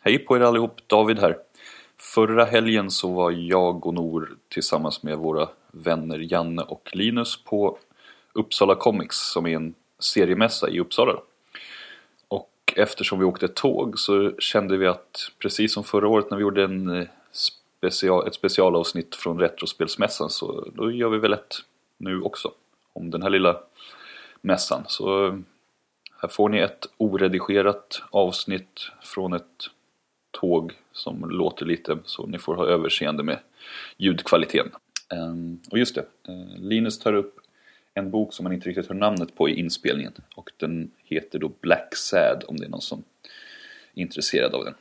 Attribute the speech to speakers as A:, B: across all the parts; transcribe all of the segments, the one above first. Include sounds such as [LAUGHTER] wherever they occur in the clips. A: Hej på er allihop, David här. Förra helgen så var jag och Nor tillsammans med våra vänner Janne och Linus på Uppsala Comics som är en seriemässa i Uppsala. Och eftersom vi åkte tåg så kände vi att precis som förra året när vi gjorde en eh, special, ett specialavsnitt från Retrospelsmässan så då gör vi väl ett nu också om den här lilla mässan. Så eh, här får ni ett oredigerat avsnitt från ett tåg som låter lite så ni får ha överseende med ljudkvaliteten. Ehm, Och just det, eh, Linus tar upp en bok som man inte riktigt hör namnet på i inspelningen och den heter då Black Sad om det är någon som är intresserad av den.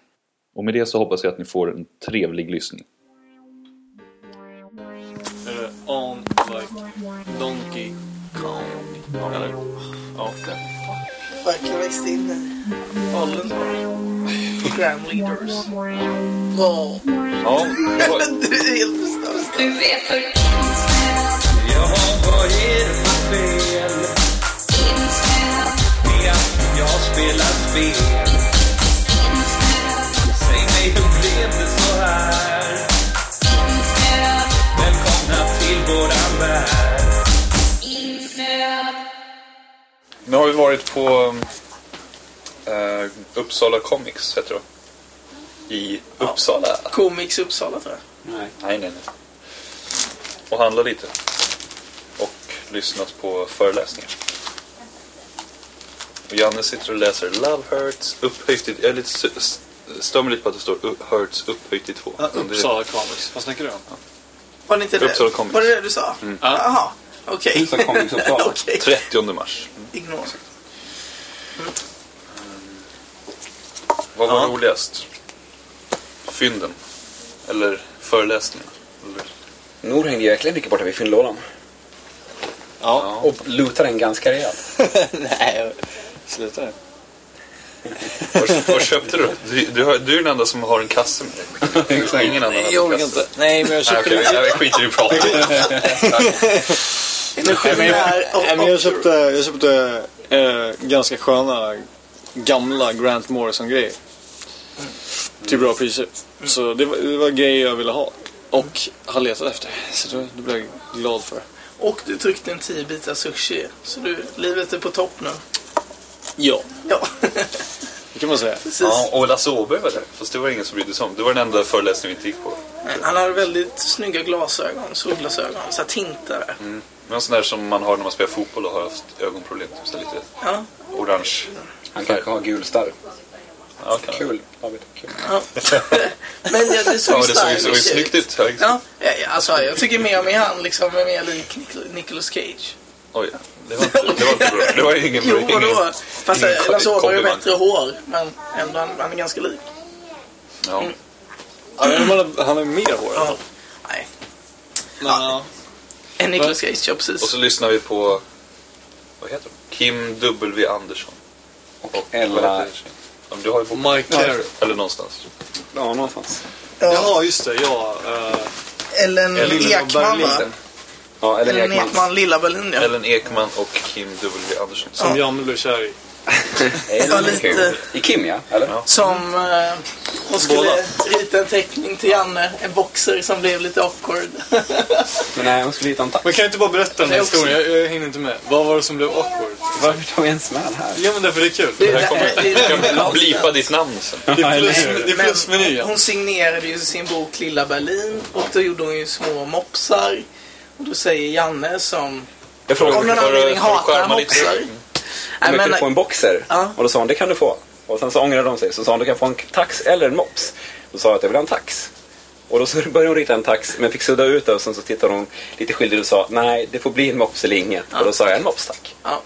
A: Och med det så hoppas jag att ni får en trevlig lyssning.
B: Eh,
C: Uh, on like Donkey Kong. Eller, ja.
D: Verkar växt in där.
C: Allen Grand Leaders.
D: Ja.
C: Ja, det var-
D: Du är helt förstörd.
E: Du är för
C: ja, vad är det för fel? Det är att jag spelar spel. Säg mig, hur blev det så här? Välkomna till våran värld.
E: insnöad.
A: Nu har vi varit på eh, Uppsala Comics, heter det I Uppsala?
D: Comics Uppsala tror jag.
A: Nej, nej, nej. Och handlat lite. Och lyssnat på föreläsningar. Och Janne sitter och läser Love Hurts upphöjt till... Jag är lite s- s- stör mig lite på att det står upp- Hurts upphöjt till två.
B: Ja,
A: Men det-
B: Uppsala Comics. Vad snackar du om?
D: Var det inte det?
A: Uppsala Comics. Mm.
D: Var det det du sa? Jaha, okej.
B: Uppsala Comics Uppsala.
D: [LAUGHS] Okej,
A: 30 mars.
D: ignor.
A: Vad var
B: Ja.
A: roligast? Fynden? Eller föreläsningen? Eller...
F: Nor hängde ju verkligen mycket borta vid fyndlådan.
B: Ja.
F: Och lutade den ganska rejält.
B: Nej, sluta nu.
A: Vad, vad köpte du? Du, du, har, du är den enda som har en kasse med dig.
B: [LAUGHS]
A: Ingen annan
B: Nej,
A: hade
B: jag
A: en
B: orkar
A: kasse.
B: inte. Nej, men jag
A: Nej,
B: köpte...
A: okej, jag skiter i
B: [LAUGHS]
A: pratet.
B: Nej, men jag,
D: Energin
B: nej, men jag
D: är...
B: köpte, jag köpte eh, ganska sköna gamla Grant Morrison-grejer. Mm. Till bra priser. Så det var, det var grejer jag ville ha. Och har letat efter. Så det, det blev jag glad för.
D: Och du tryckte en 10 bitar sushi. Så du, livet är på topp nu.
B: Ja,
D: Ja,
B: det kan man säga.
D: precis.
A: Ja, och Lasse Åberg var där. Fast det var ingen som brydde sig om. Det var den enda föreläsningen vi inte gick på.
D: Men Han har väldigt snygga glasögon, solglasögon. Så här tintar där.
A: Mm. Men en sån där som man har när man spelar fotboll och har haft ögonproblem. Typ så lite
D: Ja.
A: orange.
F: Han kanske har gul starr.
A: Ja, kan
F: Kul, David. Kul.
D: Men ja, det
A: Ja,
D: såg
A: men det såg ju- såg ju
D: stylish ut.
A: snyggt ut. Ja, liksom.
D: Ja, ja, alltså jag tycker mer om i han liksom är mer lik Nic- Nicolas Cage.
A: Oj, det var inte, det var inte bra. Det var ingen...
D: Jo,
A: ingen
D: vadå? Fast
A: ingen
D: eh, Lasse Åberg har ju
A: komplimang.
D: bättre hår, men ändå han, han är ganska lik.
A: Ja.
B: Ja, men man har- Han har mer hår.
D: Ja. Nej,
B: Men, ja.
D: en Nicolas Cage, ja precis.
A: Och så lyssnar vi på... Vad heter hon? Kim W. Andersson.
F: Och
A: Vad
F: Ella...
A: heter tjejen? Ja, men du har ju boken.
B: Mike Carey.
A: Eller någonstans.
F: Ja, någonstans.
B: Jaha, just det. Ja. eh,
D: Ellen
A: Ellen
D: Ekman, va?
B: Berlin.
F: Ja, eller
D: Ellen
F: Ekman.
D: Ekman, Lilla Berlin, ja.
A: Ellen Ekman och Kim W. Andersson.
B: som
D: Ja.
B: Janne blev kär i.
D: Ja,
F: Ellen
D: lite.
F: Ekman. I Kim, ja? Eller?
A: Ja.
D: Som eh, hon skulle rita en teckning till Janne, en boxer som blev lite awkward. [LAUGHS]
F: Men nej, hon skulle hitta en tax.
B: Men kan jag inte bara berätta den här
D: Jag också.
B: historien? Jag, jag hinner inte med. Vad var det som blev awkward?
F: Varför tar vi ens med det här?
B: Ja men därför det är kul.
D: Det-
B: Det
A: Det här kommer...
D: det- det-
A: Jag kan blipa ditt namn sen.
B: är plus,
F: eller hur?
B: det är
D: Men
B: plusmenyn.
D: hon signerade ju sin bok Lilla Berlin och då gjorde hon ju små mopsar. Och då säger Janne som
F: Jag frågade
D: Om
F: om
D: någon
A: För-
D: anledning
A: för
D: hatar han
A: skärma lite.
D: mopsar. Nej,
F: jag
D: men,
F: kunde få en boxer.
D: Ja.
F: Och då sa hon, det kan du få. Och sen så ångrade de sig. Så sa hon, du kan få en tax eller en mops. Då sa jag att jag vill ha en tax. Och då så [LAUGHS] började hon rita en tax, men fick sudda ut det. Och sen så tittade hon lite skyldig och sa, nej, det får bli en mops eller inget. Och då sa jag, en mops tack.
D: ja.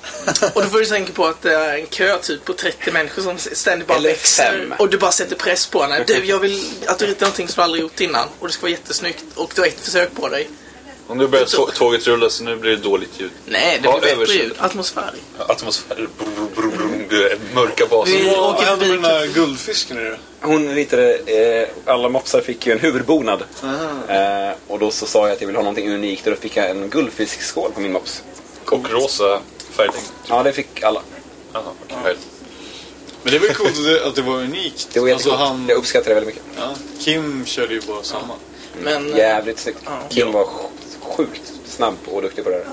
D: Och då får du tänka på att det är en kö typ på 30 människor som ständigt bara
F: Eller
D: växer.
F: fem.
D: Och du bara sätter press på henne. Du, jag vill att du ritar någonting som du aldrig gjort innan. Och det ska vara jättesnyggt. Och du har ett försök på dig.
A: Och nu börjar tå- tåget rulla så nu blir det dåligt ljud.
D: Nej, det
A: Ja,
D: blir bättre
A: överseende.
D: ljud. Atmosfär.
A: Atmosfär, brum, brum, brum, brum, mörka baser.
D: Vi-
B: Vad
D: åker
B: hände
D: förbi
B: med den här guldfisken nu
F: Hon ritade, eh, alla mopsar fick ju en huvudbonad. Eh, och då så sa jag att jag ville ha någonting unikt och då fick jag en guldfiskskål på min mops.
A: Och rosa färgning.
F: Ja, det fick alla.
A: Jaha, okej.
B: Men det är väl coolt att det, att det var unikt.
F: Det var
B: alltså,
F: jättegott.
B: han,
F: Jag uppskattar det väldigt mycket.
B: ja, Kim körde ju bara samma.
D: Men eh,
F: Jävligt snyggt.
D: Ja.
F: Kim var sj- sjukt snabb och duktig på det där.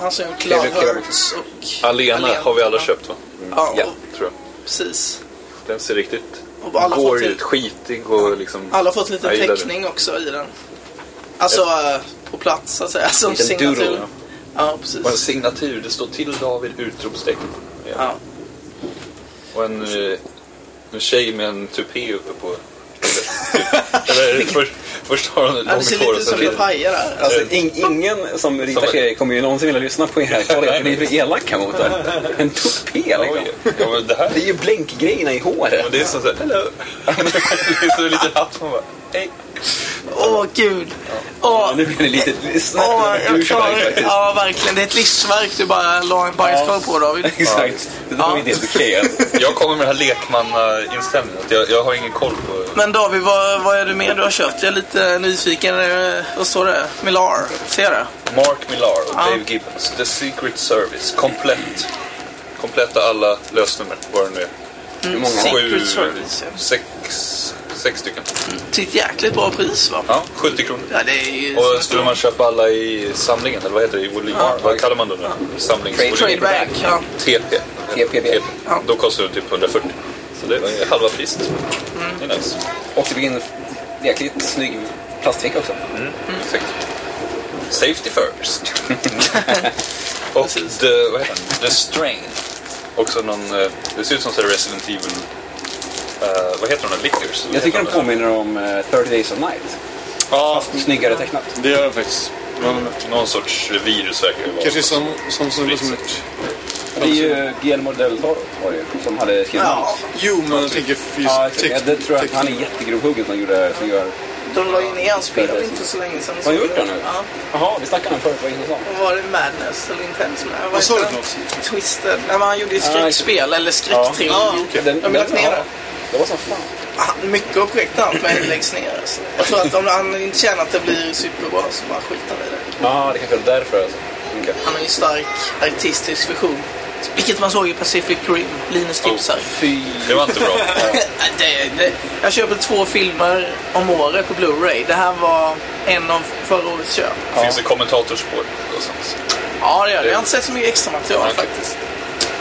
D: han som gjort
F: Trevlig
D: Cloud
F: kille.
D: Hurts och...
A: Alena har vi alla
D: Ja.
A: köpt va?
D: Ja,
F: Ja.
D: och-
A: Tror jag.
D: precis.
A: Den ser riktigt
D: Och alla har fått,
A: gårig
D: till,
A: ut, skitig och liksom...
D: alla har fått lite
A: Jag gillar det.
D: teckning också i den. Alltså eh, på plats så att säga, som
F: Liten doodle,
D: signatur.
F: ja.
D: Ja,
A: Och en
D: precis.
A: signatur, det står till David utropstecken.
D: Ja.
A: Och en, eh, en tjej med en tupé uppe
D: [LAUGHS]
A: på... Eller, eller först, först har hon ett
D: Ja, det ser
A: långt hår och
D: lite
A: sen
D: som en
A: lite...
D: pajer där.
F: Alltså, ing, ingen som ritar serier kommer ju någonsin vilja lyssna på er här talar, för ni är för elaka mot er. En tupé liksom.
A: Oj, ja, men det här...
F: Det är ju blänkgrejerna i
A: Men
F: håret.
A: det är som såhär, hello! [LAUGHS] det är som en liten hatt
D: [LAUGHS]
A: man bara, hej!
D: Åh, gud. Åh,
F: Nu blir det lite snack om
D: åh, jag
F: douchebag
D: klarar
F: faktiskt.
D: Ja, verkligen. Det är ett livsverk du bara la en bajskorv på, David.
F: Exakt. Det där var inte helt okej. alltså.
A: Jag kommer med den här lekmannainställningen, att jag, jag har ingen koll på...
D: Men David, vad, vad är det mer du har köpt? Jag är lite nyfiken. Eh, Vad står det? Millar? Ser du?
A: Mark Millar och
D: Ja.
A: Dave Gibbons, The Secret Service, komplett. Kompletta alla lösnummer, vad det nu är.
F: Hur många?
A: Sju,
D: Secret Service, ja.
A: sex, sex stycken.
D: Till ett jäkligt bra pris, va?
A: Ja, 70 kronor.
D: Ja, det är ju...
A: Och skulle man köpa alla i samlingen, eller vad heter det, i volym?
D: Ja.
A: Vad kallar man det nu? Samlingsvolym?
D: Tradeback, ja.
A: TP.
F: TPB.
D: Ja.
A: Då kostar det typ 140. Så det är halva priset.
D: Mm.
A: Det är nice.
F: Och det blir en jäkligt snygg plastficka också.
A: Exakt. Safety first. och the, vad heter den? the Strain. Också någon, eh, det ser ut som så här Resident Evil... eh, vad heter de där? Lickers?
F: Jag tycker den påminner om eh, 30 Days of Night.
A: Ja,
F: Snyggare tecknat.
B: Det gör den faktiskt. Men
A: någon sorts virus verkar det vara.
B: kanske som, som snubbe som gjort...
F: Det är ju Guillermo del Toro var det ju, som hade skrivit
D: Ja,
F: manus.
B: Jo, men jag tänker just
F: Ja, exakt. Ja,
B: text-
F: det tror jag att han är
B: text-
F: jättegrovhuggen som gjorde... Som gör...
D: de la ju ner hans spel för inte så länge sedan.
F: Har han gjort det nu?
D: Ja.
F: Jaha, vi snackade om förut, vad intressant.
D: Och var det Madness eller Intense? Nej,
B: Vad sa
D: heter
B: du för
D: den?
B: något?
D: Twisted. Nej, men han gjorde ju skräckspel, eller skräcktrilogi.
B: Ja. Ah, okej.
F: Den,
D: De har lagt ner det.
F: ja, det var som fan.
D: Han- Mycket av projekten han med läggs ner. Alltså. Jag tror att om han inte känner att det blir superbra så bara skiter han i det.
F: Ja, det kanske är därför alltså. Okej.
D: Han har ju stark artistisk vision. Vilket man såg i Pacific Rim, Linus tipsar.
F: Fy...
A: Det var
B: [LAUGHS]
A: inte bra.
D: [LAUGHS] det, det. Jag köper två filmer om året på Blu-ray. Det här var en av förra årets köp.
A: Finns det kommentatorspår? och sånt?
D: Ja, det gör det. Jag har inte sett så mycket extra material
A: Okej.
D: faktiskt.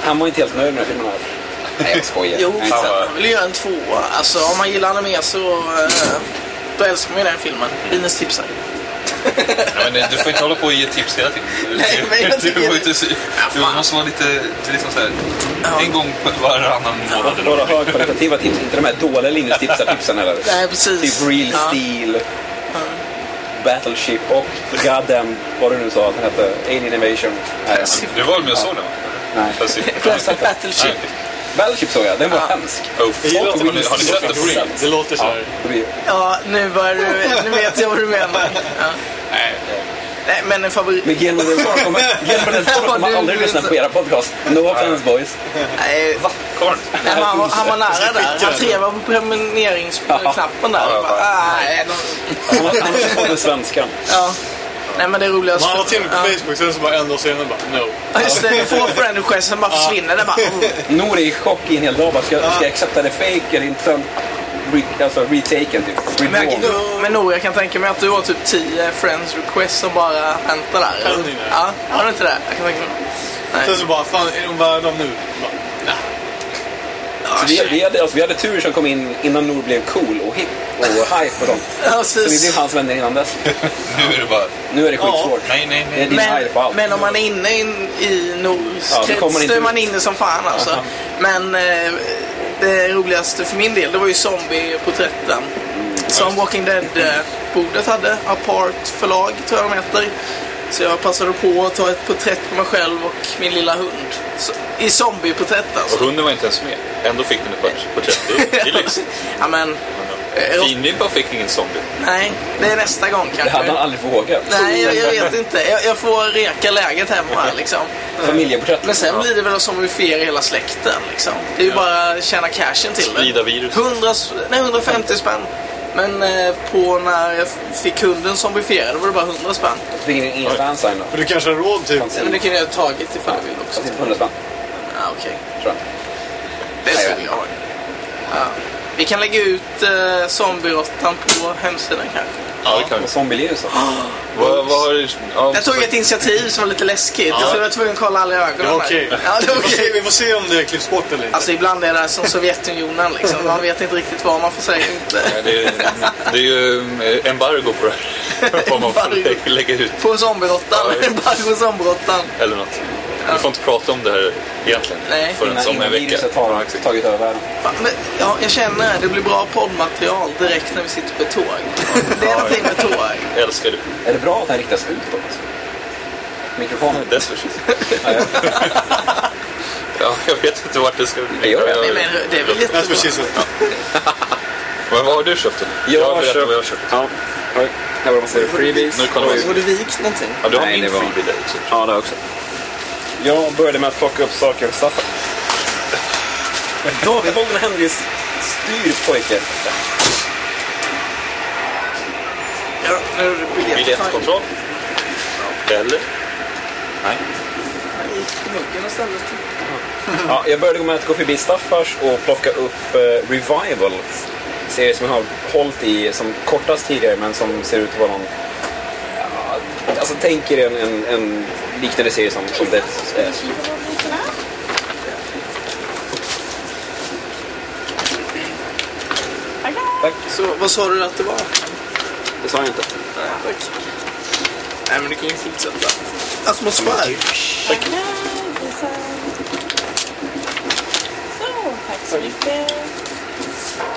F: Han var inte helt nöjd med den här filmen här. Nej, jag skojar.
D: Jo,
F: Nej,
D: fan,
F: inte sant.
D: jag vill göra en tvåa. Alltså, om man gillar anime så... eh, Då älskar man ju den filmen. Linus tipsar.
A: Nej, men du får inte hålla på och ge tips hela tiden. Du-
D: Nej, men jag
A: du- du,
D: tycker-
A: får inte sy- du måste vara lite, liksom så här, en gång på varannan månad. eller
F: Några
A: något.
F: högkvalitativa tips, inte de här dåliga Linus-tipsar-tipsen heller.
D: Nej, precis.
F: Typ Real
D: Ja.
F: Steel, Battleship och Goddamn, vad du nu sa att den hette, Alien Invasion. Nej,
A: Du var väl med och såg den? va?
F: nej.
A: Fast-
D: Battleship.
F: Battleship såg jag, den var hemsk.
A: Oh, fuck.
B: Jag gillar att
A: Har ni-
B: det
A: har ni sett
B: låter
A: den på
B: så
A: film?
B: här. Det låter så här.
F: Det blir-
D: Ja, nu börjar du... Nu vet jag vad du menar. Ja. Nej, men en favorit...
F: Men Guillermo del Toro kommer- Guillermo del Toro
D: [LAUGHS] Ja,
F: kommer
D: du-
F: aldrig
D: du-
F: lyssna på era podcast. No offense boys.
D: Nej,
A: Korn.
D: Nej, men han, var, han var nära där. Han trevar på prenumereringsknappen där. Och bara, "Ah, nej, de-
F: Han har han har inte fått den svenskan.
D: ja. Nej men det är roligast...
B: Man har till och med på
D: ja.
B: Facebook, sen så bara en dag senare bara no.
D: Ja, Just det, du får friend request, sen bara försvinner det. Bara, oh.
F: Nour är i chock i en hel dag. Bara, Ska, ska jag accepta det fake eller inte? Sen, re, alltså retaken typ.
D: Men, jag,
F: Redrawn.
D: men nog, jag kan tänka mig att du har typ 10 friends request som bara väntar där.
B: Kan ni det?
D: Ja, har du inte det? Jag kan tänka mig.
B: Sen
D: Nej.
B: så bara, fan är de värda dem nu? Bara,
F: Så vi, vi, hade, alltså, vi hade tur som kom in innan Nour blev cool och hip och hype och sånt.
D: Ja,
F: Så vi blev
D: precis.
F: hans vänner innan dess.
A: Nu är det bara,
F: Nu är det skitsvårt.
A: nej, nej,
F: Det
A: nej.
F: är din
D: Men,
F: hype på allt.
D: men om man är inne in, i Nords
F: Ja, då kommer
D: krets,
F: man
D: då
F: inte
D: är
F: ut.
D: man inne som fan alltså. Men eh, det roligaste för min del, det var ju zombieporträtten.
F: Mm,
D: Som Walking Dead-bordet hade, Apart förlag tror jag de heter. Så jag passade på att ta ett porträtt på mig själv och min lilla hund. Så, I zombieporträtt alltså.
A: Och hunden var inte ens med. Ändå fick den ett port- porträtt. Det är- det är
D: [LAUGHS]
A: lyx.
D: ja, men, eh,
A: Finlimpa fick ingen zombie.
D: nej, det är nästa gång
F: Det hade han
D: kanske.
F: aldrig vågat.
D: Nej, jag, jag vet inte. Jag, jag får reka läget hemma liksom.
F: Familjeporträtt.
D: Men sen blir det väl att zombifiera hela släkten liksom. Det är ju bara att tjäna cashen till
A: Sprida
D: det.
A: virus.
D: 100, s- nej, 150 spänn. Men eh, på när jag f- fick hunden zombifierad var det bara 100 spänn.
F: Fick in ingen fansign då.
B: Men du kanske har råd typ?
F: Fansign.
D: Nej, men det
F: Mm.
D: kunde jag ha tagit ifall jag ville också.
F: Fast inte på 100 spänn,
D: Ah, okej.
F: tror jag.
D: Det
F: Nej,
D: skulle jag ha. Ja. Vi kan lägga ut eh, zombie-råttan på hemsidan kanske.
A: Ja, det kan Ah. vi.
F: Och Zombie-Linus då?
A: Vad, vad har du... Ja,
D: Jag tog ett initiativ som var lite läskigt. Jag tror jag var tvungen att kolla alla ögonen.
B: Det var
D: här.
B: okej.
D: Ja, det var
B: Vi får se-
D: okej.
B: Vi får se om det klipps bort eller inte.
D: Alltså ibland är det som Sovjetunionen liksom. Man vet inte riktigt vad man får säga och inte.
A: det, är- det är ju eh, embargo på det här. Vad man får lä- lägga ut
D: På zombie-råttan.
A: Ja, just.
D: [LAUGHS] Bara på zombie-råttan.
A: eller något. Du får inte prata om det här egentligen
D: Nej.
A: förrän om en vecka.
F: viruset har tagit över världen.
D: Fan, men, ja, jag känner det. Det blir bra poddmaterial direkt när vi sitter på ett tåg. Det är någonting med tåg.
A: Jag älskar det.
F: Är det bra att den riktas utåt? Mikrofonen?
A: Dessutom.
F: Ja, ja.
A: [LAUGHS] Ja, jag vet inte vart det ska...
F: Det gör det.
D: Nej, men det är väl
B: That's
D: jättebra.
B: what she said.
A: Men vad har du köpt då?
F: Jag har
A: berättar
F: köpt-
A: vad jag har köpt.
F: Ja. Oj, Här var det massa freebies.
A: Nu kollar vi.
D: Var det Alltså, vikt någonting?
A: Ja, du har
F: Nej,
A: min
F: det var-
A: freebie där också.
F: Ja, det också. Jag började med att plocka upp saker och Staffan. David Holm Henrys styr pojke.
D: Ja, nu är det biljett.
A: Biljettkontroll. Eller?
F: Nej.
D: Jag gick till muggen och typ. ställde till.
F: Ja, jag började med att gå förbi Staffars och plocka upp eh, Revival. Serie som jag har hållit i som kortast tidigare men som ser ut att vara någon... Ja, alltså tänk er en, en, en liknande serie som, som Death eh,
D: Så alltså, vad sa du att det var?
F: Det sa jag inte.
D: Tack. Nej, men du kan ju fortsätta. Atmosfär.
E: Tack så mycket.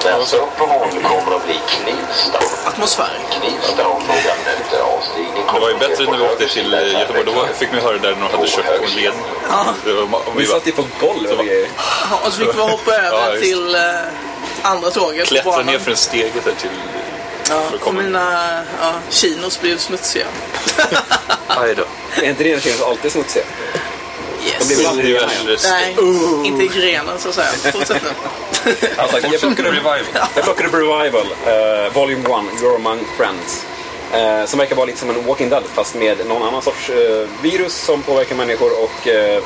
G: Dens uppehåll kommer att bli knivstarkt.
D: Atmosfär.
G: Knivstarkt och frågan efter avstigning
A: Det
G: kommer
A: var ju
G: att ske
A: bättre
G: på
A: när vi åkte till eh,
G: högersidan
A: Göteborg. Då var- fick vi höra där när de hade kört på en led. Det var- Om
F: Vi
A: vi var
F: satt ju på golv och grejer.
D: Jaha, och så fick vi hoppa
A: Ja,
D: över
A: just.
D: till eh, andra tåget. på
A: klättra
D: banan.
A: ner för en stege där till...
D: ja,
A: att
D: och
A: komma.
D: mina ja, chinos blev smutsiga.
A: Aj då.
F: Är inte det en serie som alltid smutsiga?
D: Yes.
F: blev aldrig
A: Diverse...
D: Nej, inte i grenen så att säga. Fortsätt nu.
F: Alltså, jag plockade upp
A: Revival.
F: Jag plockade upp Revival, eh, Volume 1, You're Among Friends. eh, som verkar vara lite som en Walking Dead fast med någon annan sorts eh, virus som påverkar människor och eh,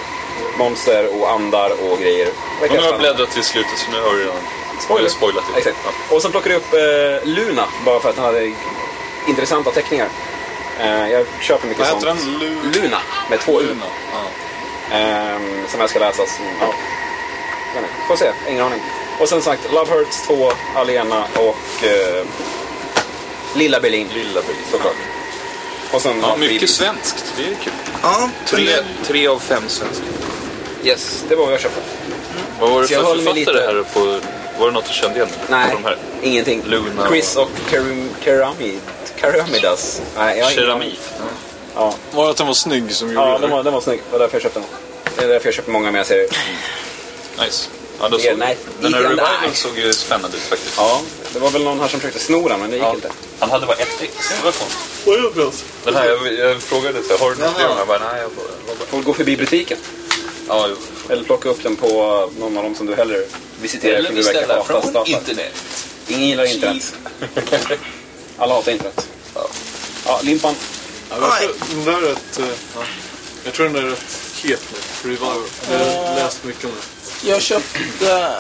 F: monster och andar och grejer.
A: Men
F: Verkar
A: nu har jag
F: spännande.
A: bläddrat till slutet så nu har du redan
F: Spoiler.
A: eller spoilat det.
F: Exakt.
A: Ja.
F: Och sen plockade jag upp eh, Luna bara för att den hade intressanta teckningar. Eh, jag köper mycket
B: Vad
F: sånt.
B: heter den? Lu-
F: Luna med två U.
B: Luna. Ja.
F: Ehm, som jag ska läsa. Som, ja. Jag vet inte. Får se, ingen aning. Och sen sagt, Love Hurts 2, Alena och eh, Lilla Berlin. Lilla Berlin. Såklart. Och sen
A: Ja,
F: har vi-
A: mycket svenskt. Det är kul.
D: Ja,
A: Tre, tre av fem svenska.
F: Yes, det var vad jag köpte.
A: Vad var det
F: Så jag
A: för
F: håller mig
A: författare
F: lite-
A: här? På, var det något du kände igen?
F: Nej,
A: På de här?
F: ingenting.
A: Luna och-
F: Chris och Kerum, Keramid. Keramidas. Nej, jag har ingen-
A: Keramik.
F: Ja,
B: Var det att den var snygg som gjorde
F: ja
B: det?
F: den, var, den var snygg. Det var därför jag köpte den. Det är därför jag köper många mer serier.
A: Nice. Ja, då
F: Det är
A: såg,
F: nice.
A: den här
F: Eagle
A: revivalen
F: Eye.
A: såg ju spännande ut faktiskt.
F: Ja, det var väl någon här som försökte sno den, men det gick
A: Ja.
F: inte.
A: Han hade bara ett ex. Det var konstigt. Den här, jag, jag frågade så här, har du något
B: Jaha.
A: fler? Jag bara, nej. Jag bara, jag bara,
F: Får gå förbi butiken.
A: ja, jo.
F: Eller plocka upp den på någon av dem som du hellre visiterar för du verkar hata Staffan.
A: internet.
F: Ingen gillar internet. [LAUGHS] Alla hatar internet. Ja, Limpan.
B: Ja, jag tror- den där är rätt... eh, ja. Jag tror den där är rätt het nu. Revival. Jag har läst mycket om den.
D: jag köpte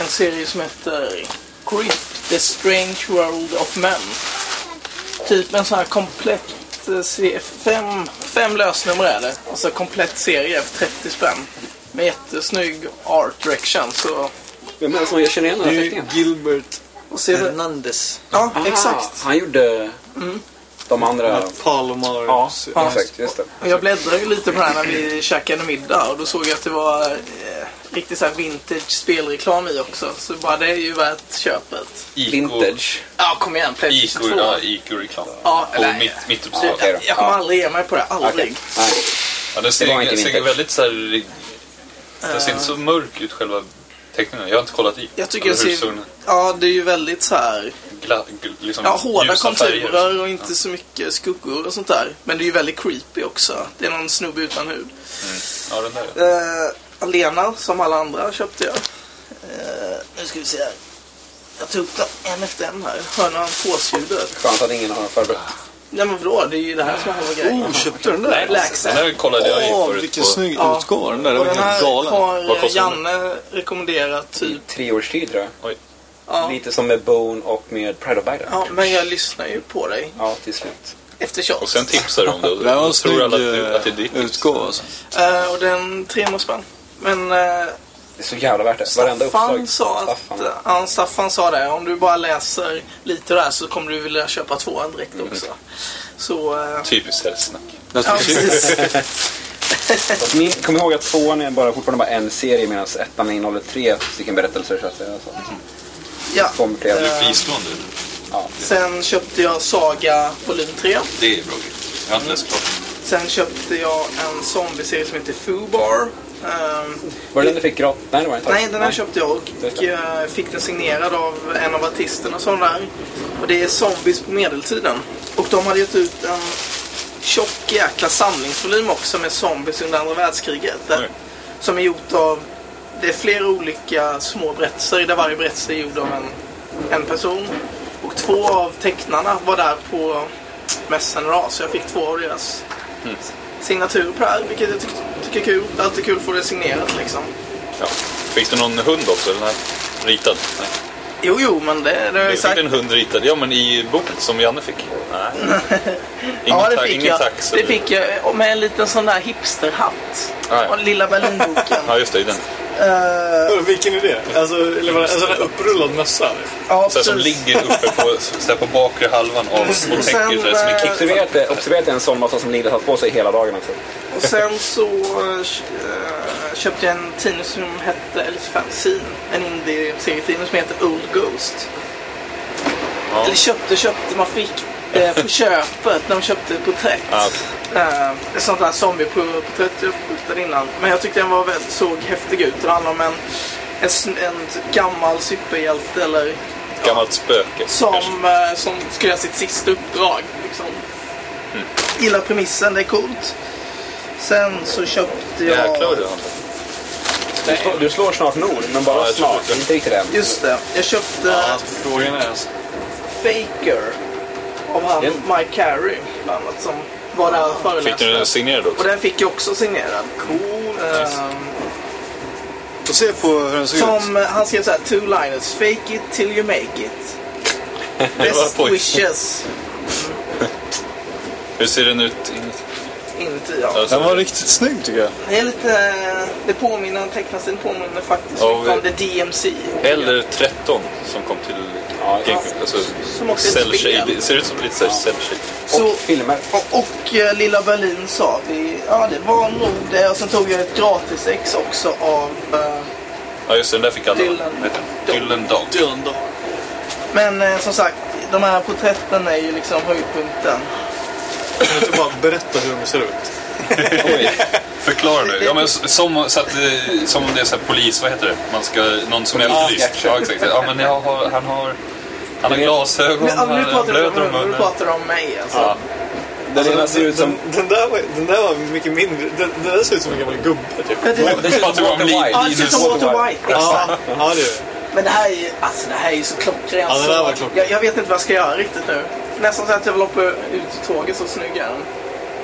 D: en serie som heter Grip, The Strange World of Men. Typ en sån här komplett eh, se- fem, fem lösnummer är det. Alltså komplett serie för 30 spänn. Med jättesnygg art direction. Så,
F: Vem är det som jag känner igen den här
B: Det
F: teckningen?
B: är Gilbert
D: och ser det.
H: Hernandez.
D: Ja,
F: Ah,
D: exakt.
F: Han gjorde de
B: eh,
F: andra...
B: Palmar.
F: Ja,
B: Ja.
F: exakt. Just det.
D: Och jag bläddrade ju lite på det här när vi käkade middag och då såg jag att det var eh, riktigt så här vintage spelreklam i också. Så bara det är ju värt köpet.
F: Vintage.
D: Ja, kom igen. Playstation 2.
A: Ico, ja, Ico-reklam.
D: Ja,
A: på
D: nej.
A: mitt, mitt
D: Du,
A: uppslag.
F: okej då.
D: jag, jag kommer
F: Ja.
D: aldrig ge mig på det. Aldrig.
F: Okej. Nej.
A: Ja, den
F: Det var
A: ser,
F: inte
A: den ser
F: vintage.
A: väldigt så här... Den ser inte så mörk ut själva teckningen. Jag har inte kollat i.
D: Eh. Jag tycker jag
A: Eller hur
D: ser...
A: zonen-
D: Ja, det är ju väldigt så här...
A: Gla, gl, liksom
D: Ja, hårda
A: ljusa färger.
D: konturer och inte så mycket skuggor och sånt där. Men det är ju väldigt creepy också. Det är någon snubbe utan hud.
A: Ja, den där. ja.
D: Eh, Alena, som alla andra, köpte jag. Eh, nu ska vi se här. Jag tog upp dem en efter en här. Hör ni påsljudet?
F: Skönt att ingen har förberett.
D: Nej men vadå? Det är ju det här som är halva grejen.
B: Oh, köpte du den där?
A: Den
D: Läxen.
A: här kollade jag
B: Åh,
A: ju förut
B: vilken
A: på.
B: snygg
D: Ja.
B: utgåva den där. Den
D: Och
B: var
D: den
B: helt
D: här
B: galen.
A: Vad
D: har eh,
A: kostar den?
D: Janne rekommenderat typ.
F: Tre års tid tror jag.
A: Oj.
D: Ja.
F: Lite som med Bone och med Pride of Biden.
D: ja, men jag lyssnar ju på dig
F: Ja, till slut.
D: efter Charles.
A: Och sen tipsar de om det. och
B: Det där var en
A: då
B: snygg
A: tror alla att det, att det är
B: eh,
A: ditt tips.
B: utgåva alltså.
D: Eh, och den 300 spänn. Men eh,
F: Det är så jävla värt det. Varenda
D: Staffan
F: uppslag.
D: sa att... eh,
F: Staffan.
D: Ja, Staffan sa det. Om du bara läser lite där så kommer du vilja köpa tvåan direkt
F: Mm.
D: också. Så... eh,
A: Typiskt säljsnack.
D: ja, precis.
F: Fast Min, kom ihåg att tvåan är bara, fortfarande bara en serie medan ettan innehåller tre stycken berättelser. Så att säga. Så
D: ja.
F: det kommer fler.
D: Eh,
A: Fristående.
D: Sen köpte jag Saga volym 3.
A: Det är bra grejer. Jag har inte läst klart.
D: Sen köpte jag en zombieserie som heter Fubar. Ehm,
F: Var det den du fick gratis? Nej, det var inte.
D: nej, den här köpte jag och eh, fick den signerad av en av artisterna som var där. Och det är zombies på medeltiden. Och de hade gett ut en tjock jäkla samlingsvolym också med zombies under andra världskriget. Där,
A: Oj.
D: Som är gjort av, det är flera olika små berättelser där varje berättelse är gjord av en, en person. Och två av tecknarna var där på mässan idag så jag fick två av deras signatur på det här, vilket jag tyck- tycker är kul. Det är alltid kul att få det signerat liksom.
A: Ja. Fick du någon hund också? Den här ritad? Nej.
D: Jo, jo, men det, det har jag ju
A: Du fick
D: sagt.
A: en hund ritad. Ja, men i boken som Janne fick. Nej.
D: [LAUGHS]
A: Ingen,
D: Ja, det
A: ta-
D: fick
A: ingen
D: jag.
A: tax?
D: Det
A: eller-
D: fick jag och med en liten sån där hipsterhatt.
A: Ja, ja.
D: Och lilla
A: [LAUGHS]
D: Berlinboken.
A: Ja, just det. i Den.
D: Eh,
B: Vilken är det? Alltså, eller var det en sån där upprullad mössa?
D: ja,
A: Så här, som
D: precis.
A: ligger uppe på, så här, på bakre halvan av små täcker. Så
D: Och sen,
A: här, som en
D: eh,
A: kick.
F: Observera att det- observera att det är en sån massa som Linda har haft på sig hela dagen. Alltså.
D: Och sen så eh, köpte jag en tidning som hette, eller fanzine, en indie-serietidning som heter Old Ghost. Eller köpte, köpte, man fick eh, på köpet när de köpte ett porträtt.
A: Ja.
D: Eh, ett sånt där zombieporträtt jag fotade innan. Men jag tyckte den var väldigt, såg häftig ut. Det handlar om en, en, sn- en gammal superhjälte eller
A: Gammalt spöke. kanske.
D: som, eh, som ska göra sitt sista uppdrag. Liksom.
A: Mm.
D: Gillar premissen, det är coolt. Sen så köpte jag...
A: Jäklar vad du handlar.
F: Du, slår, du slår snart Nor, men bara
A: Ja, jag tror
F: snart.
A: det.
F: Inte riktigt än.
D: Just det, jag köpte
B: Frågan är alltså.
D: Faker av han
F: Den-
D: Mike Carey bland annat som var där och
A: Fick du den
D: föreläste.
A: signerad
D: Och
A: också?
D: den fick jag också signerad. Eh, Cool.
B: Få se på hur den såg ut.
D: som eh, han skrev så här, two liners. Fake it till you make
A: [LAUGHS]
D: it. Best
A: pojk.
D: wishes.
A: Hur ser den ut inuti?
D: Inuti ja.
A: Alltså,
B: Den var riktigt snygg tycker jag.
D: Det är lite, eh, det påminner, tecknastilen påminner faktiskt
A: Ja,
D: mycket om
A: vi-
D: The DMC.
A: Eller 13 som kom till GameCube. Alltså,
D: Som också är ett
A: cell
D: spel.
A: shade. Ser ut som lite såhär cell shade.
D: Så,
F: Och filmer.
D: och, och eh, Lilla Berlin sa vi, ja det var nog det. Och sen tog jag ett gratis ex också av eh,
A: Ja just det, den där fick alla.
D: Dylan.
A: Vad heter den? Dylan Dog.
D: Men eh, som sagt, de här porträtten är ju liksom höjdpunkten.
B: Kan du inte bara berätta hur de ser ut?
A: [LAUGHS] Förklara nu. Ja, men som, så att, eh, som om det är så här polis, vad heter det? Man ska, någon som är
D: Ah,
A: efterlyst. Ja, exakt. Ja, men jag har, han har, han har glasögon,
D: Nu, ja,
A: han
D: men nu,
A: han
D: pratar
A: blöder
D: du,
A: om
D: om, nu
A: munnen.
D: pratar du om mig alltså.
A: Ja.
F: Den ena ser ut som...
B: Den, den, där var, den där var mycket mindre. Den, den där ser ut som en gammal gubbe typ.
D: Men det-
A: Nu pratar vi om
F: Walter
A: Li-
F: White.
D: Ja, det ser ut som
A: Linus.
D: Walter White.
B: Ja,
D: Exakt.
B: ja det är
D: Men det här är ju, alltså det här är ju så klockrent.
B: Ja, det där var
D: så-
B: klockrent.
D: jag, jag vet inte vad jag ska göra riktigt nu. Nästan så att jag vill hoppa ut ur tåget, så snygg är den.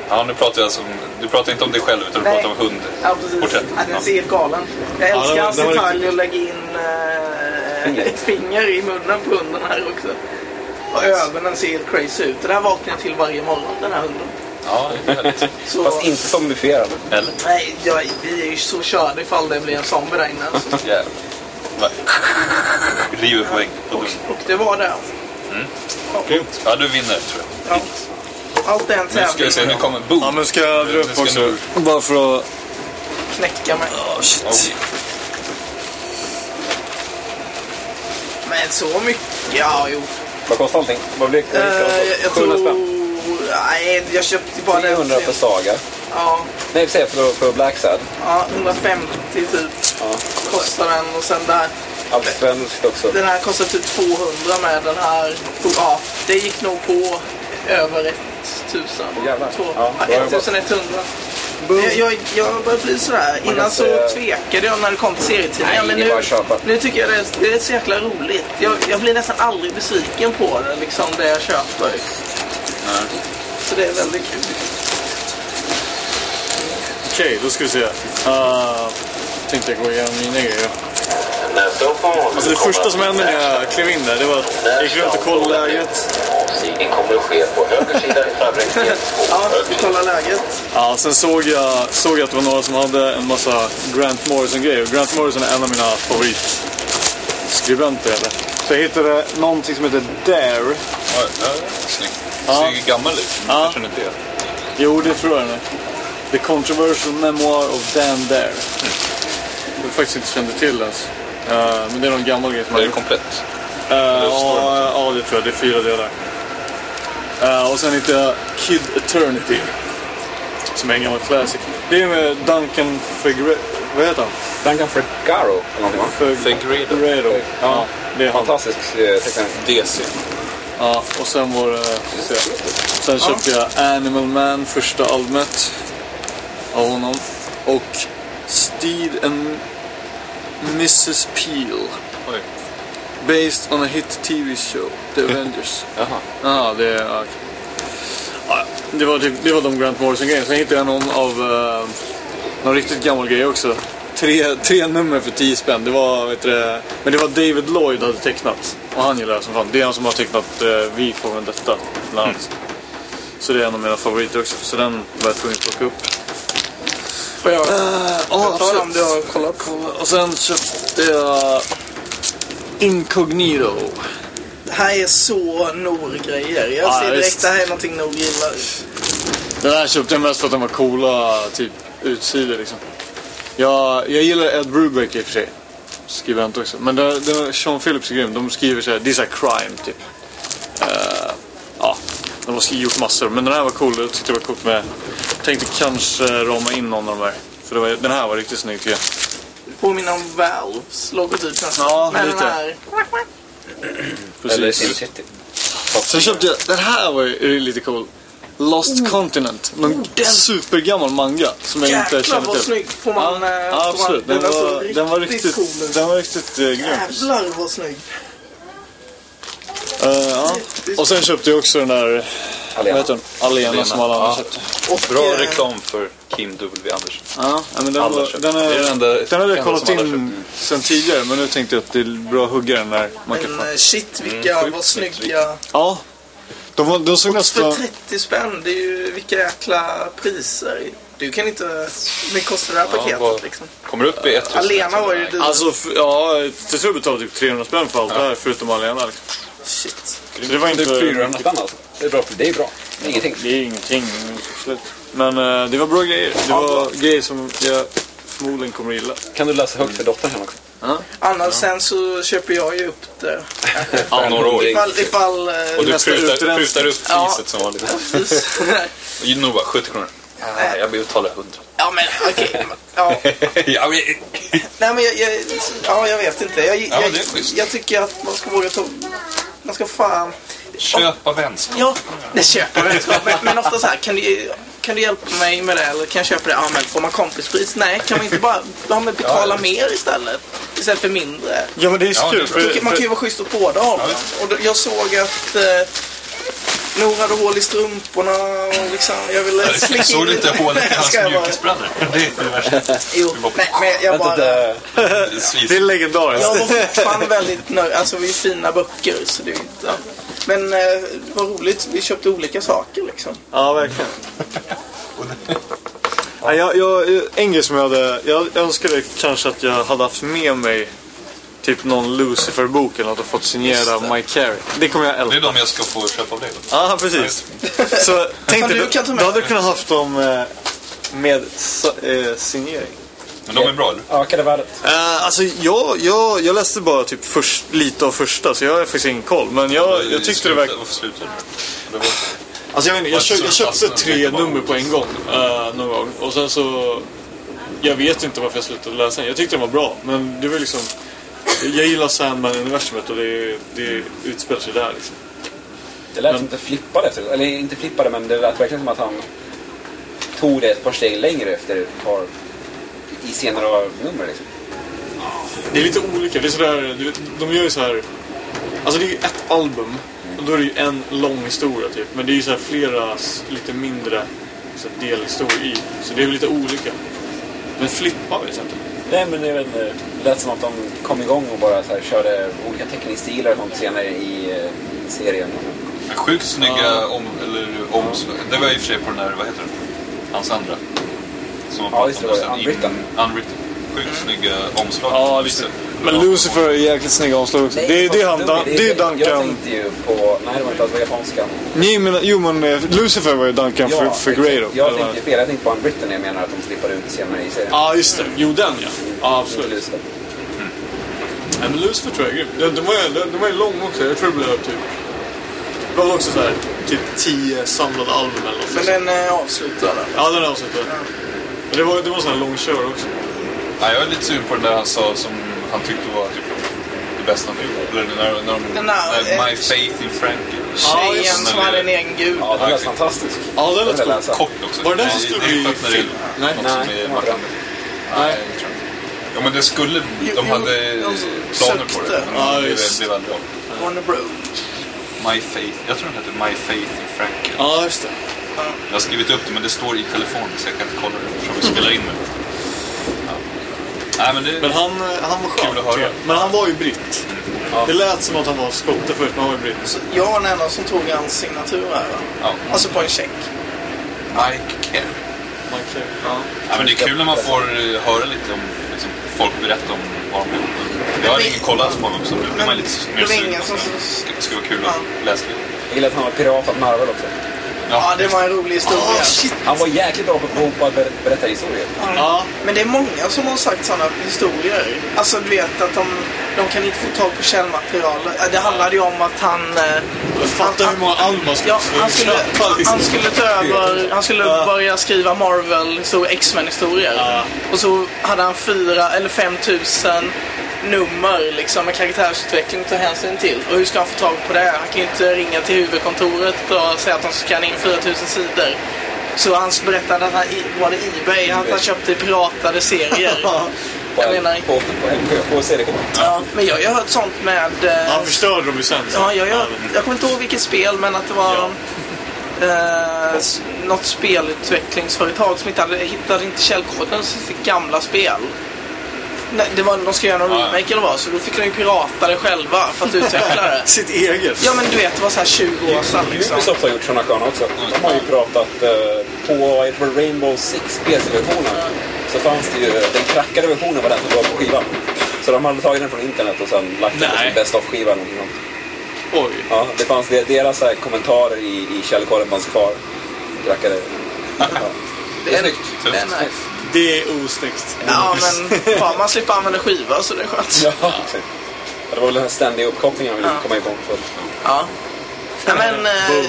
A: Ja, nu pratar jag alltså om, du pratar inte om dig själv utan du
D: Nej.
A: pratar om
D: Ja, precis.
A: hundporträttet.
D: Ja, den ser helt galen. Jag
B: Ja,
D: älskar
B: den-
D: hans
B: den var
D: detalj
B: riktigt-
D: att lägga in eh,
F: Finger.
D: ett finger i munnen på hunden här också. Och ögonen ser helt crazy ut. Det där vaknar jag till varje morgon, den här hunden.
A: Ja, det är härligt.
D: Så,
F: Fast inte zombifierad.
A: Eller?
D: Nej, jag, vi är ju så körda ifall det blir en zombie där inne.
A: [LAUGHS]
D: Alltså. [LAUGHS]
A: Jävlar. Va? River på väggen. på dörren.
D: Och det var det. alltså.
A: Grymt. Ja, du vinner tror
D: Ja. Allt är en
A: jag. Nu ska vi se, nu
D: tävling.
A: kommer Boom.
B: Ja, nu ska jag dra
A: Nu
B: upp
A: ska
B: också.
A: du-
B: Bara för att...
D: Knäcka mig.
A: Oh,
D: Men så mycket, ja jo.
F: Vad kostar allting? Vad blir det?
D: Eh, jag, jag
F: 700
D: tror...
F: spänn.
D: Nej, jag köpte bara den.
F: 300 för Saga.
D: Ja,
F: Nej, vi säger för, för Black Sad.
D: ja, 150 typ
F: Ja.
D: kostar den. Och sen där.
F: Allt svenskt också.
D: Den här kostar typ 200 med den här. Ja, det gick nog på över 1000.
F: Jävlar.
D: Två-
F: Ja,
D: ja,
F: bra jobbat.
D: 1100. Jag, jag, jag börjar bli sådär.
F: kan
D: Innan så
F: säga-
D: tvekade jag när det kom till serietidningar.
F: Nej,
D: men
F: det är
D: nu,
F: bara att köpa.
D: nu tycker jag det är, det är så jäkla roligt. Jag, jag blir nästan aldrig besviken på det, liksom, det jag köper. Så det är väldigt kul.
B: Okej, då ska vi se. Uh, tänkte jag gå igenom mina grejer.
G: Nästa uppehåll
B: Alltså det första som hände när jag klev in där, det var att jag gick runt och kollade läget.
A: Alltså,
G: Avstigning kommer att ske på höger sida i fallräcket 2.
D: Ja, vi kollar läget.
B: Ja, sen såg jag, såg jag att det var några som hade en massa Grant Morrison-grejer. Och Grant Morrison är en av mina favoritskribenter. Eller? Så jag hittade någonting som heter
A: Ja,
B: Dare.
A: ja, snyggt.
B: Ja.
A: Ser ju gammal ut.
B: Ja.
A: Jag känner inte det.
B: Jo, det tror jag den är. The Controversial Memoir of Dan
A: Mm.
B: Dare. Jag faktiskt inte kände till ens. Eh, men det är någon gammal grej som
A: Det
B: han
A: är komplett.
B: Eh, Ja, ja, det tror jag. Det är fyra delar. Eh, och sen hittade jag Kid Eternity. Som är en gammal classic. Det är med Duncan Figure... Vad heter han?
F: Duncan Fergaro eller någonting va?
A: Figueredo.
B: Figueredo. Ja, det är han.
F: Fantastisk eh, tecknare.
A: DC.
B: Ja, och sen var det... ska vi se. Sen köpte jag Animal Man, första albumet. Av honom. Och Steed and Mrs Peel.
A: Oj.
B: Based on a hit TV show, The Avengers.
A: Jaha.
B: Ja, det är... ja, okej. Ja, det, var typ, det var de Grant Morrison-grejerna. Sen hittade jag någon av... Eh, någon riktigt gammal grej också. Tre, tre nummer för 10 spänn. Det var, vet du, det- men det var David Lloyd hade tecknat. Och han gillar jag som fan. Det är han som har tecknat eh, Vi får väl detta, bland annat.
D: Mm.
B: Så det är en av mina favoriter också. Så den var jag tvungen att plocka upp. Eh,
D: Får jag
B: Ja,
D: ta om du har kollat?
B: Och sen köpte jag Incognito.
D: Det här är så Nor-grejer. Jag
B: Ja,
D: ser
B: visst.
D: direkt det här är någonting Nor gillar.
B: Den här köpte jag mest för att den var coola typ utsidor liksom. Jag, jag gillar Ed Brubaker i och för sig. Skribent också. Men det, det, Sean Phillips är grym. De skriver så här, this is a crime typ. Eh, ja, de har skrivit gjort massor. Men den här var cool. Jag tyckte det var coolt med. Tänkte kanske rama in någon av de här. För det var, den här var riktigt snygg tycker jag.
D: Påminner om Valves typ, logotyp nästan.
B: Ja,
D: Men
B: lite.
D: den här
F: Eller
B: Precis.
F: SimCity.
B: Sen köpte jag, den här var ju lite cool. Lost
D: Oh.
B: Continent. Någon supergammal manga som jag inte
D: Jäklar
B: känner
D: vad
B: till.
D: snygg! Får man... eh, får man-
B: Ja, absolut. Den
D: är så
B: var, den var riktigt,
D: cool.
B: den var riktigt eh, grym.
D: Jävlar vad snygg!
B: Eh, ja. Och sen köpte jag också den där, vad heter den? Alena
A: Alena.
B: som alla andra
A: Ja.
B: köpte.
D: Och,
A: Bra
D: eh,
A: reklam för Kim W. Andersson.
B: Ja, ja, men den,
A: Alla
B: var,
A: köpte.
B: den,
A: Det är den
B: är,
A: enda-
B: den hade
A: enda
B: jag kollat
A: som alla
B: in sen tidigare men nu tänkte jag att det är bra att hugga den där. Man kan
D: Men
B: få.
D: eh, shit vilka
B: Mm,
A: sjukt
D: vad
A: snyggt.
D: snygga.
B: Ja. De, var- de såg
D: För
B: nästan...
D: 30 spänn, det är ju vilka jäkla priser. Du kan inte... Men kostar det här
A: Ja,
D: paketet
A: vad-
D: liksom?
A: Kommer upp i 1000.
D: Alena var ju dyr.
B: Alltså, f- ja, till slut betalade jag typ 300 spänn för allt det här förutom Alena. Liksom.
D: Shit.
B: Så det var inte...
F: Det är 400 spänn alltså. Det är bra. Det är bra. Det är ingenting.
B: Det är ingenting. absolut. Men eh, det var bra grejer. Det var grejer som jag förmodligen kommer att gilla.
F: Kan du läsa högt för dottern här också?
D: Annars sen så köper jag ju upp det.
A: Ja, några år.
D: Ifall... ifall eh,
A: Och du
B: Nästa
A: prutar,
B: utrensning.
A: prutar upp priset
D: Ja.
A: som vanligt. [LAUGHS]
D: precis.
A: Nova, 70 kronor. Nej, jag vill betala 100.
D: ja men okej. Ja.
A: ja, men,
D: Nej men jag, jag, ja, jag vet inte. Jag,
A: Ja,
D: jag,
A: det är schysst.
D: jag tycker att man ska våga ta... Man ska fan...
A: köpa vänskap.
D: Ja, det köper jag. vänskap. Men, men ofta så här, kan du, kan du hjälpa mig med det eller kan jag köpa det? Ja, men får man kompispris? Nej, kan man inte bara ja, men betala mer istället? Istället för mindre.
B: Ja men det är
A: Ja, det är bra.
B: kul. för-
D: Man kan- Man kan ju vara schysst åt båda hållen. Och då, jag såg att eh, Nora hade hål i strumporna och liksom, jag ville slicka
A: Såg du inte
D: lite.
A: hålet i
D: [LAUGHS] Nej,
A: hans
D: ska jag bara-
A: mjukisbrallor? Det är det värsta.
D: Jo, nej, men jag
F: Vänta,
D: bara...
F: det...
B: Det är
A: Svin.
B: legendariskt.
D: Jag var fortfarande väldigt nöjd. Alltså vi är fina böcker så det är ju inte... Men eh, vad roligt, vi köpte olika saker liksom.
B: Ja, verkligen. [LAUGHS] Ja, jag, jag, en grej som jag hade... Jag önskade kanske att jag hade haft med mig typ någon Lucifer-bok eller något och fått signera av Mike Carey. Det kommer jag
A: Det är
B: älta.
A: de jag ska få köpa av dig. då.
B: Ja, precis. [LAUGHS] Så tänk
D: Fan,
B: dig,
D: du kan
B: då,
D: ta med
B: då hade du kunnat haft dem eh, med sa- eh, signering.
A: Men de är bra, eller?
F: Ökar det värdet?
B: Eh, alltså jag, jag, jag läste bara typ först, lite av första så jag har faktiskt ingen koll. Men jag, jag tyckte det
A: Sluta-
B: verkade...
A: Varför slutar du? Det var-
B: Alltså jag, vet inte, jag, köpte, jag köpte tre
A: Varför så-
B: nummer på en gång. eh, någon gång. Och sen så... Jag vet inte varför jag slutade läsa den. Jag tyckte den var bra. Men det var liksom... Jag gillar Sandman-universumet och det, det utspelar sig där liksom.
F: Det lät
B: Men-
F: som att det flippade efter Eller inte flippade, men det lät verkligen som att han tog det ett par steg längre efter ett par... I senare nummer liksom.
B: Det är lite olika. Det är sådär, du vet, de gör ju så här Alltså det är ju ett album. Och då är det ju en lång historia typ. Men det är ju så här flera s- lite mindre så här, delhistorier i. Så det är väl lite olika. Men flippa har vi sett
F: Nej, men jag vet inte. Det lät som att de kom igång och bara så här, körde olika teckningsstilar och sånt senare i, eh, i serien.
A: Sjukt snygga om, eller, omslag. Det var i och för sig på den här, vad heter den? Hans andra. Som man
F: Ja, just det,
A: pratade om
F: det var
A: sen.
F: Unwritten.
A: In- Unwritten. Sjukt snygga omslag.
B: Ja, visst. Men Lucifer är jäkligt snygg avslag också. Det är det han... Det är
F: Jag
B: Duncan...
F: tänkte ju på... Nej, det var inte alls på japanskan.
B: Nej, men, jo, men eh, Lucifer var ju Duncan för, för
F: exakt.
B: Grey då.
F: Jag
B: eller vad?
F: tänkte ju fel. Jag tänkte på Unwritten när jag menar att de slippar ut senare i serien.
B: Ja, just det. Jo, den ja. Ja, absolut.
F: Lucifer.
B: Nej, men Lucifer tror jag är grym. De, de, var ju, de, de var ju lång också. Jag tror det blev typ... Det var väl också så här, typ tio samlade album eller något.
D: Men den eh, är avslutad.
B: Ja, den har jag sett. Men Det var, det var en sån här lång kör också.
A: Nej, jag är lite sur på den där han sa som han tyckte var typ det bästa han gjort. Eller när, när, de,
D: Den där,
A: när
D: eh,
A: My Faith in Frankie.
B: Ja,
D: Tjejen
B: just
A: det.
D: som hade en egen gud.
F: Ja, den lät fantastisk.
B: Ja, den lät
F: Den
B: cool.
F: lät så-
A: Kort också.
B: Var det den som
A: Nej,
B: skulle
A: det
B: bli
A: sjutton är
B: film? Nej.
A: Något som
F: Nej,
A: är
F: det var
A: Martin. Nej, det tror jag inte. Ja, men det skulle...
D: Jo,
A: De
D: jo,
A: hade
D: de
A: planer på det.
D: sökte.
A: Men
B: Ja,
A: det blev-
B: just.
A: blev aldrig av.
D: Warner Bros.
A: My Faith. Jag tror den heter My Faith in Frankie.
B: Ja, just det.
A: Jag har skrivit upp det, men det står i telefonen så jag kan inte kolla det eftersom vi spelar in det. Ja. Nej, men det...
B: Men han, eh, han var skön.
A: Kul att höra.
B: tycker jag. Men han var ju britt. Det lät som att han var skotte först, men han var ju britt.
D: Jag var den enda som tog hans signatur här. va?
A: Ja.
D: Alltså på en check.
A: Mike Kerr.
B: Man kan- Ja.
A: Ja, men det är kul när man får eh, höra lite om liksom, folk berätta om vad de har gjort. Jag har
D: Men-
A: ingen kollat på honom så nu blir
D: Men-
A: man lite mer
D: det var
A: sugen.
D: ingen som-
A: Det skulle vara kul att läsa lite.
F: Jag gillar att han var pirat av Marvel också.
D: Ja, det var en rolig historia.
F: Han var jäkligt bra på att ber- berätta historier.
B: Ja.
D: Men det är många som har sagt sådana historier. Alltså du vet att de, de kan inte få tag på källmaterial. Eh, Det handlade ju om att han... eh,
B: Fatta hur många album man
D: Ja, han skulle,
B: köpa, liksom.
D: han skulle ta över, han skulle
B: Ja.
D: börja skriva Marvel, så X-Men historier.
B: Ja.
D: Och så hade han fyra eller fem tusen nummer liksom med karaktärsutveckling att ta hänsyn till. Och hur ska han få tag på det? Han kan ju inte ringa till huvudkontoret och säga att de ska scanna in 4000 sidor. Så han berättade att han i- var det Ebay, att han köpte piratade serier.
F: På,
D: jag menar,
F: på, på, på, på CD-skivor.
D: ja, men jag har ju hört sånt med... eh,
B: Han förstörde dem ju sen. så.
D: Ja, jag, jag, jag kommer inte ihåg vilket spel, men att det var
B: Ja.
D: eh, s- något spelutvecklingsföretag som inte hade, hittade inte källkoden till sitt gamla spel. Nej, det var, de skulle göra någon
A: Ja.
D: remake eller vad, så då fick de ju pirata det själva för att utveckla det.
B: Sitt eget.
D: Ja, men du vet, det var så här 20 år sedan liksom.
F: Ubisoft har gjort sådana sköna också.
B: Mm.
F: De har ju pratat eh, på jag tror Rainbow Six PC-versionen. Så fanns det ju, den crackade versionen var den som var på skivan. Så de hade tagit den från internet och sen lagt den på
B: Nej.
F: sin best of-skiva. eller någonting.
B: Oj.
F: Ja, det fanns de- deras så här, kommentarer i, i källkoden fanns kvar. Crackade. Ja. Det är snyggt.
D: Det är nice.
B: Det är osnyggt.
D: Ja, men fan, man slipper använda skiva så det är skönt.
F: Ja, exakt. Ja, Det var väl den här ständiga uppkopplingen jag ville komma in på.
D: Ja. Nej, men eh,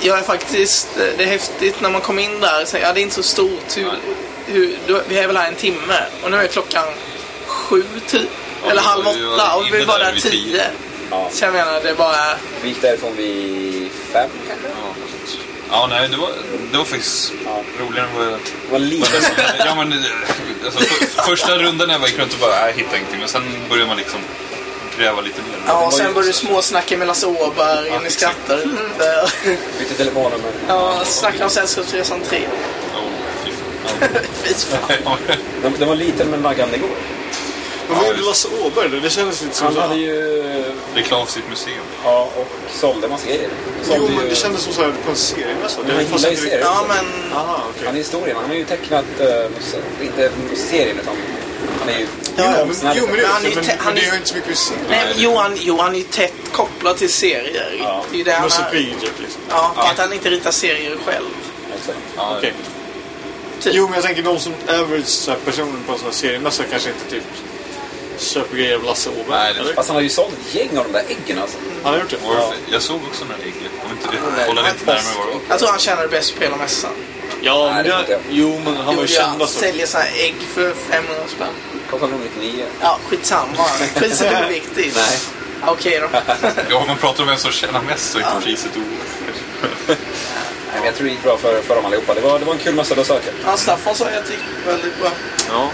D: jag är faktiskt, eh, det är häftigt när man kom in där. Så, ja, det är inte så stort. Hur, hur, du, vi är väl här en timme och nu är klockan sju typ.
A: Ja,
D: Eller
A: vi
D: halv
A: var ju
D: åtta och vi
A: inne
D: var
A: där
D: där
A: vid
D: tio.
A: tio.
F: Ja.
D: Så jag menar, det är bara...
F: Vi gick därifrån vid fem kanske?
A: Ja, nej, det var, det var faktiskt roligare än vad jag...
F: Det var lite
A: Ja, men, eh, alltså, för, första rundan jag bara gick runt och bara, äh, hittade ingenting. Men sen började man liksom gräva lite mer.
D: Ja, och
F: ju
D: sen
F: också-
D: började du småsnacka med Lasse Åberg och ni
A: exakt.
D: skrattade [LAUGHS] lite.
F: bytte telefonnummer.
D: Ja, snackade om Sällskapsresan 3.
A: Oh, fy fan.
D: Fy fan.
A: Ja.
F: Den, den var liten men naggande god.
B: Men vad gjorde Lasse Åberg då? Det kändes lite som...
F: Han
B: så
F: hade
B: här-
F: ju...
A: Reklam för sitt museum.
F: Ja, och sålde massa grejer. Sålde
B: Jo, men
F: ju-
B: det kändes som så här på en seriemässa.
F: Men han gillar ju serier.
D: Ja, men...
B: Aha, okej.
F: Han är historien. Han har ju tecknat, eh, muse- inte serien utan han är ju
B: Jo, men,
F: konstnär.
B: jo, men det,
D: Men han är
B: är
D: ju
B: men,
D: te- han
B: men det
D: är-
B: har ju inte så mycket med serier.
D: Nej, men Johan, Johan är ju tätt kopplad till serier. Det är ju det han
B: Musse
D: är.
B: Pidgeot liksom.
D: Ja, för att han inte ritar serier själv.
F: Exakt.
A: Ja,
B: Okej.
D: Typ.
B: Jo, men jag tänker de som average så här, personer på en sån här seriemässa kanske inte typ köper grejer av Lasse Åberg.
A: Nej, det-
B: eller?
F: Fast han har ju sålt ett gäng av de där äggen alltså.
B: Han har gjort det?
A: Warf- Jag såg också den här ägget. Jag vet inte- jag kollade inte närmare vad det var.
D: Jag tror han tjänade bäst på hela mässan.
B: Ja,
F: Nej,
B: men
F: det vet jag.
B: det, jo, men han var
D: Jo,
B: ju
D: jag
B: känd alltså.
D: säljer så här ägg för 500 spänn.
F: Kostade nog 99.
D: Ja, skitsamma. Priset är oviktigt.
F: Nej.
D: Okej då.
A: Ja, om man pratar om vem som tjänar mest så är inte priset oerhört.
F: Nej, men jag tror det gick bra för, för dem allihopa. Det var, det var en kul mössa, det söker.
D: Ja, Staffan sa att det gick väldigt bra.
A: Ja.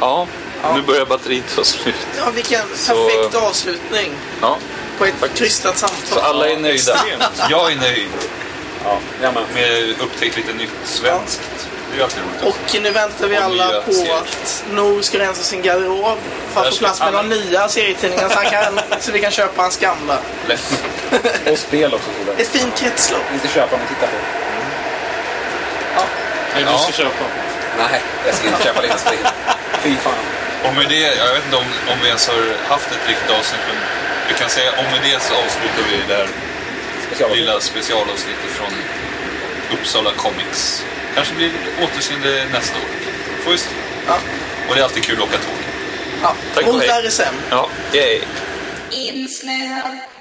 A: ja, nu börjar batteriet ta slut.
D: Ja, vilken perfekt avslutning
A: Ja,
D: på ett krystat
A: Så
D: samtal.
A: alla är nöjda.
B: extremt.
A: Jag är nöjd
F: Ja, ja, men,
A: med upptäckt lite nytt svenskt. Det är ju alltid roligt.
D: Och nu väntar vi
A: Och
D: alla
A: nya
D: på
A: serier.
D: att Nor ska rensa sin garderob för
A: Där
D: att få
A: ska
D: plats med
A: alla-
D: de nya serietidningarna så, han kan, så vi kan köpa hans gamla.
A: Lätt.
F: och spel också tror jag.
D: Ett fint kretslopp.
F: Inte köpa men titta på.
B: Nej, du ska köpa.
F: Nej, jag ska inte köpa lite spel. Fy fan.
A: Och med det, jag vet inte om, om vi ens har haft ett riktigt avsnitt, men vi kan säga om med det så avslutar vi det här
F: Special.
A: lilla specialavsnittet från Uppsala Comics. Kanske blir det återseende nästa år. Får vi se.
D: Ja.
A: Och det är alltid kul att åka tåg.
D: Ja.
A: Tack och
D: Mot
A: hej.
D: RSM.
A: Ja, yay.
C: Insnöad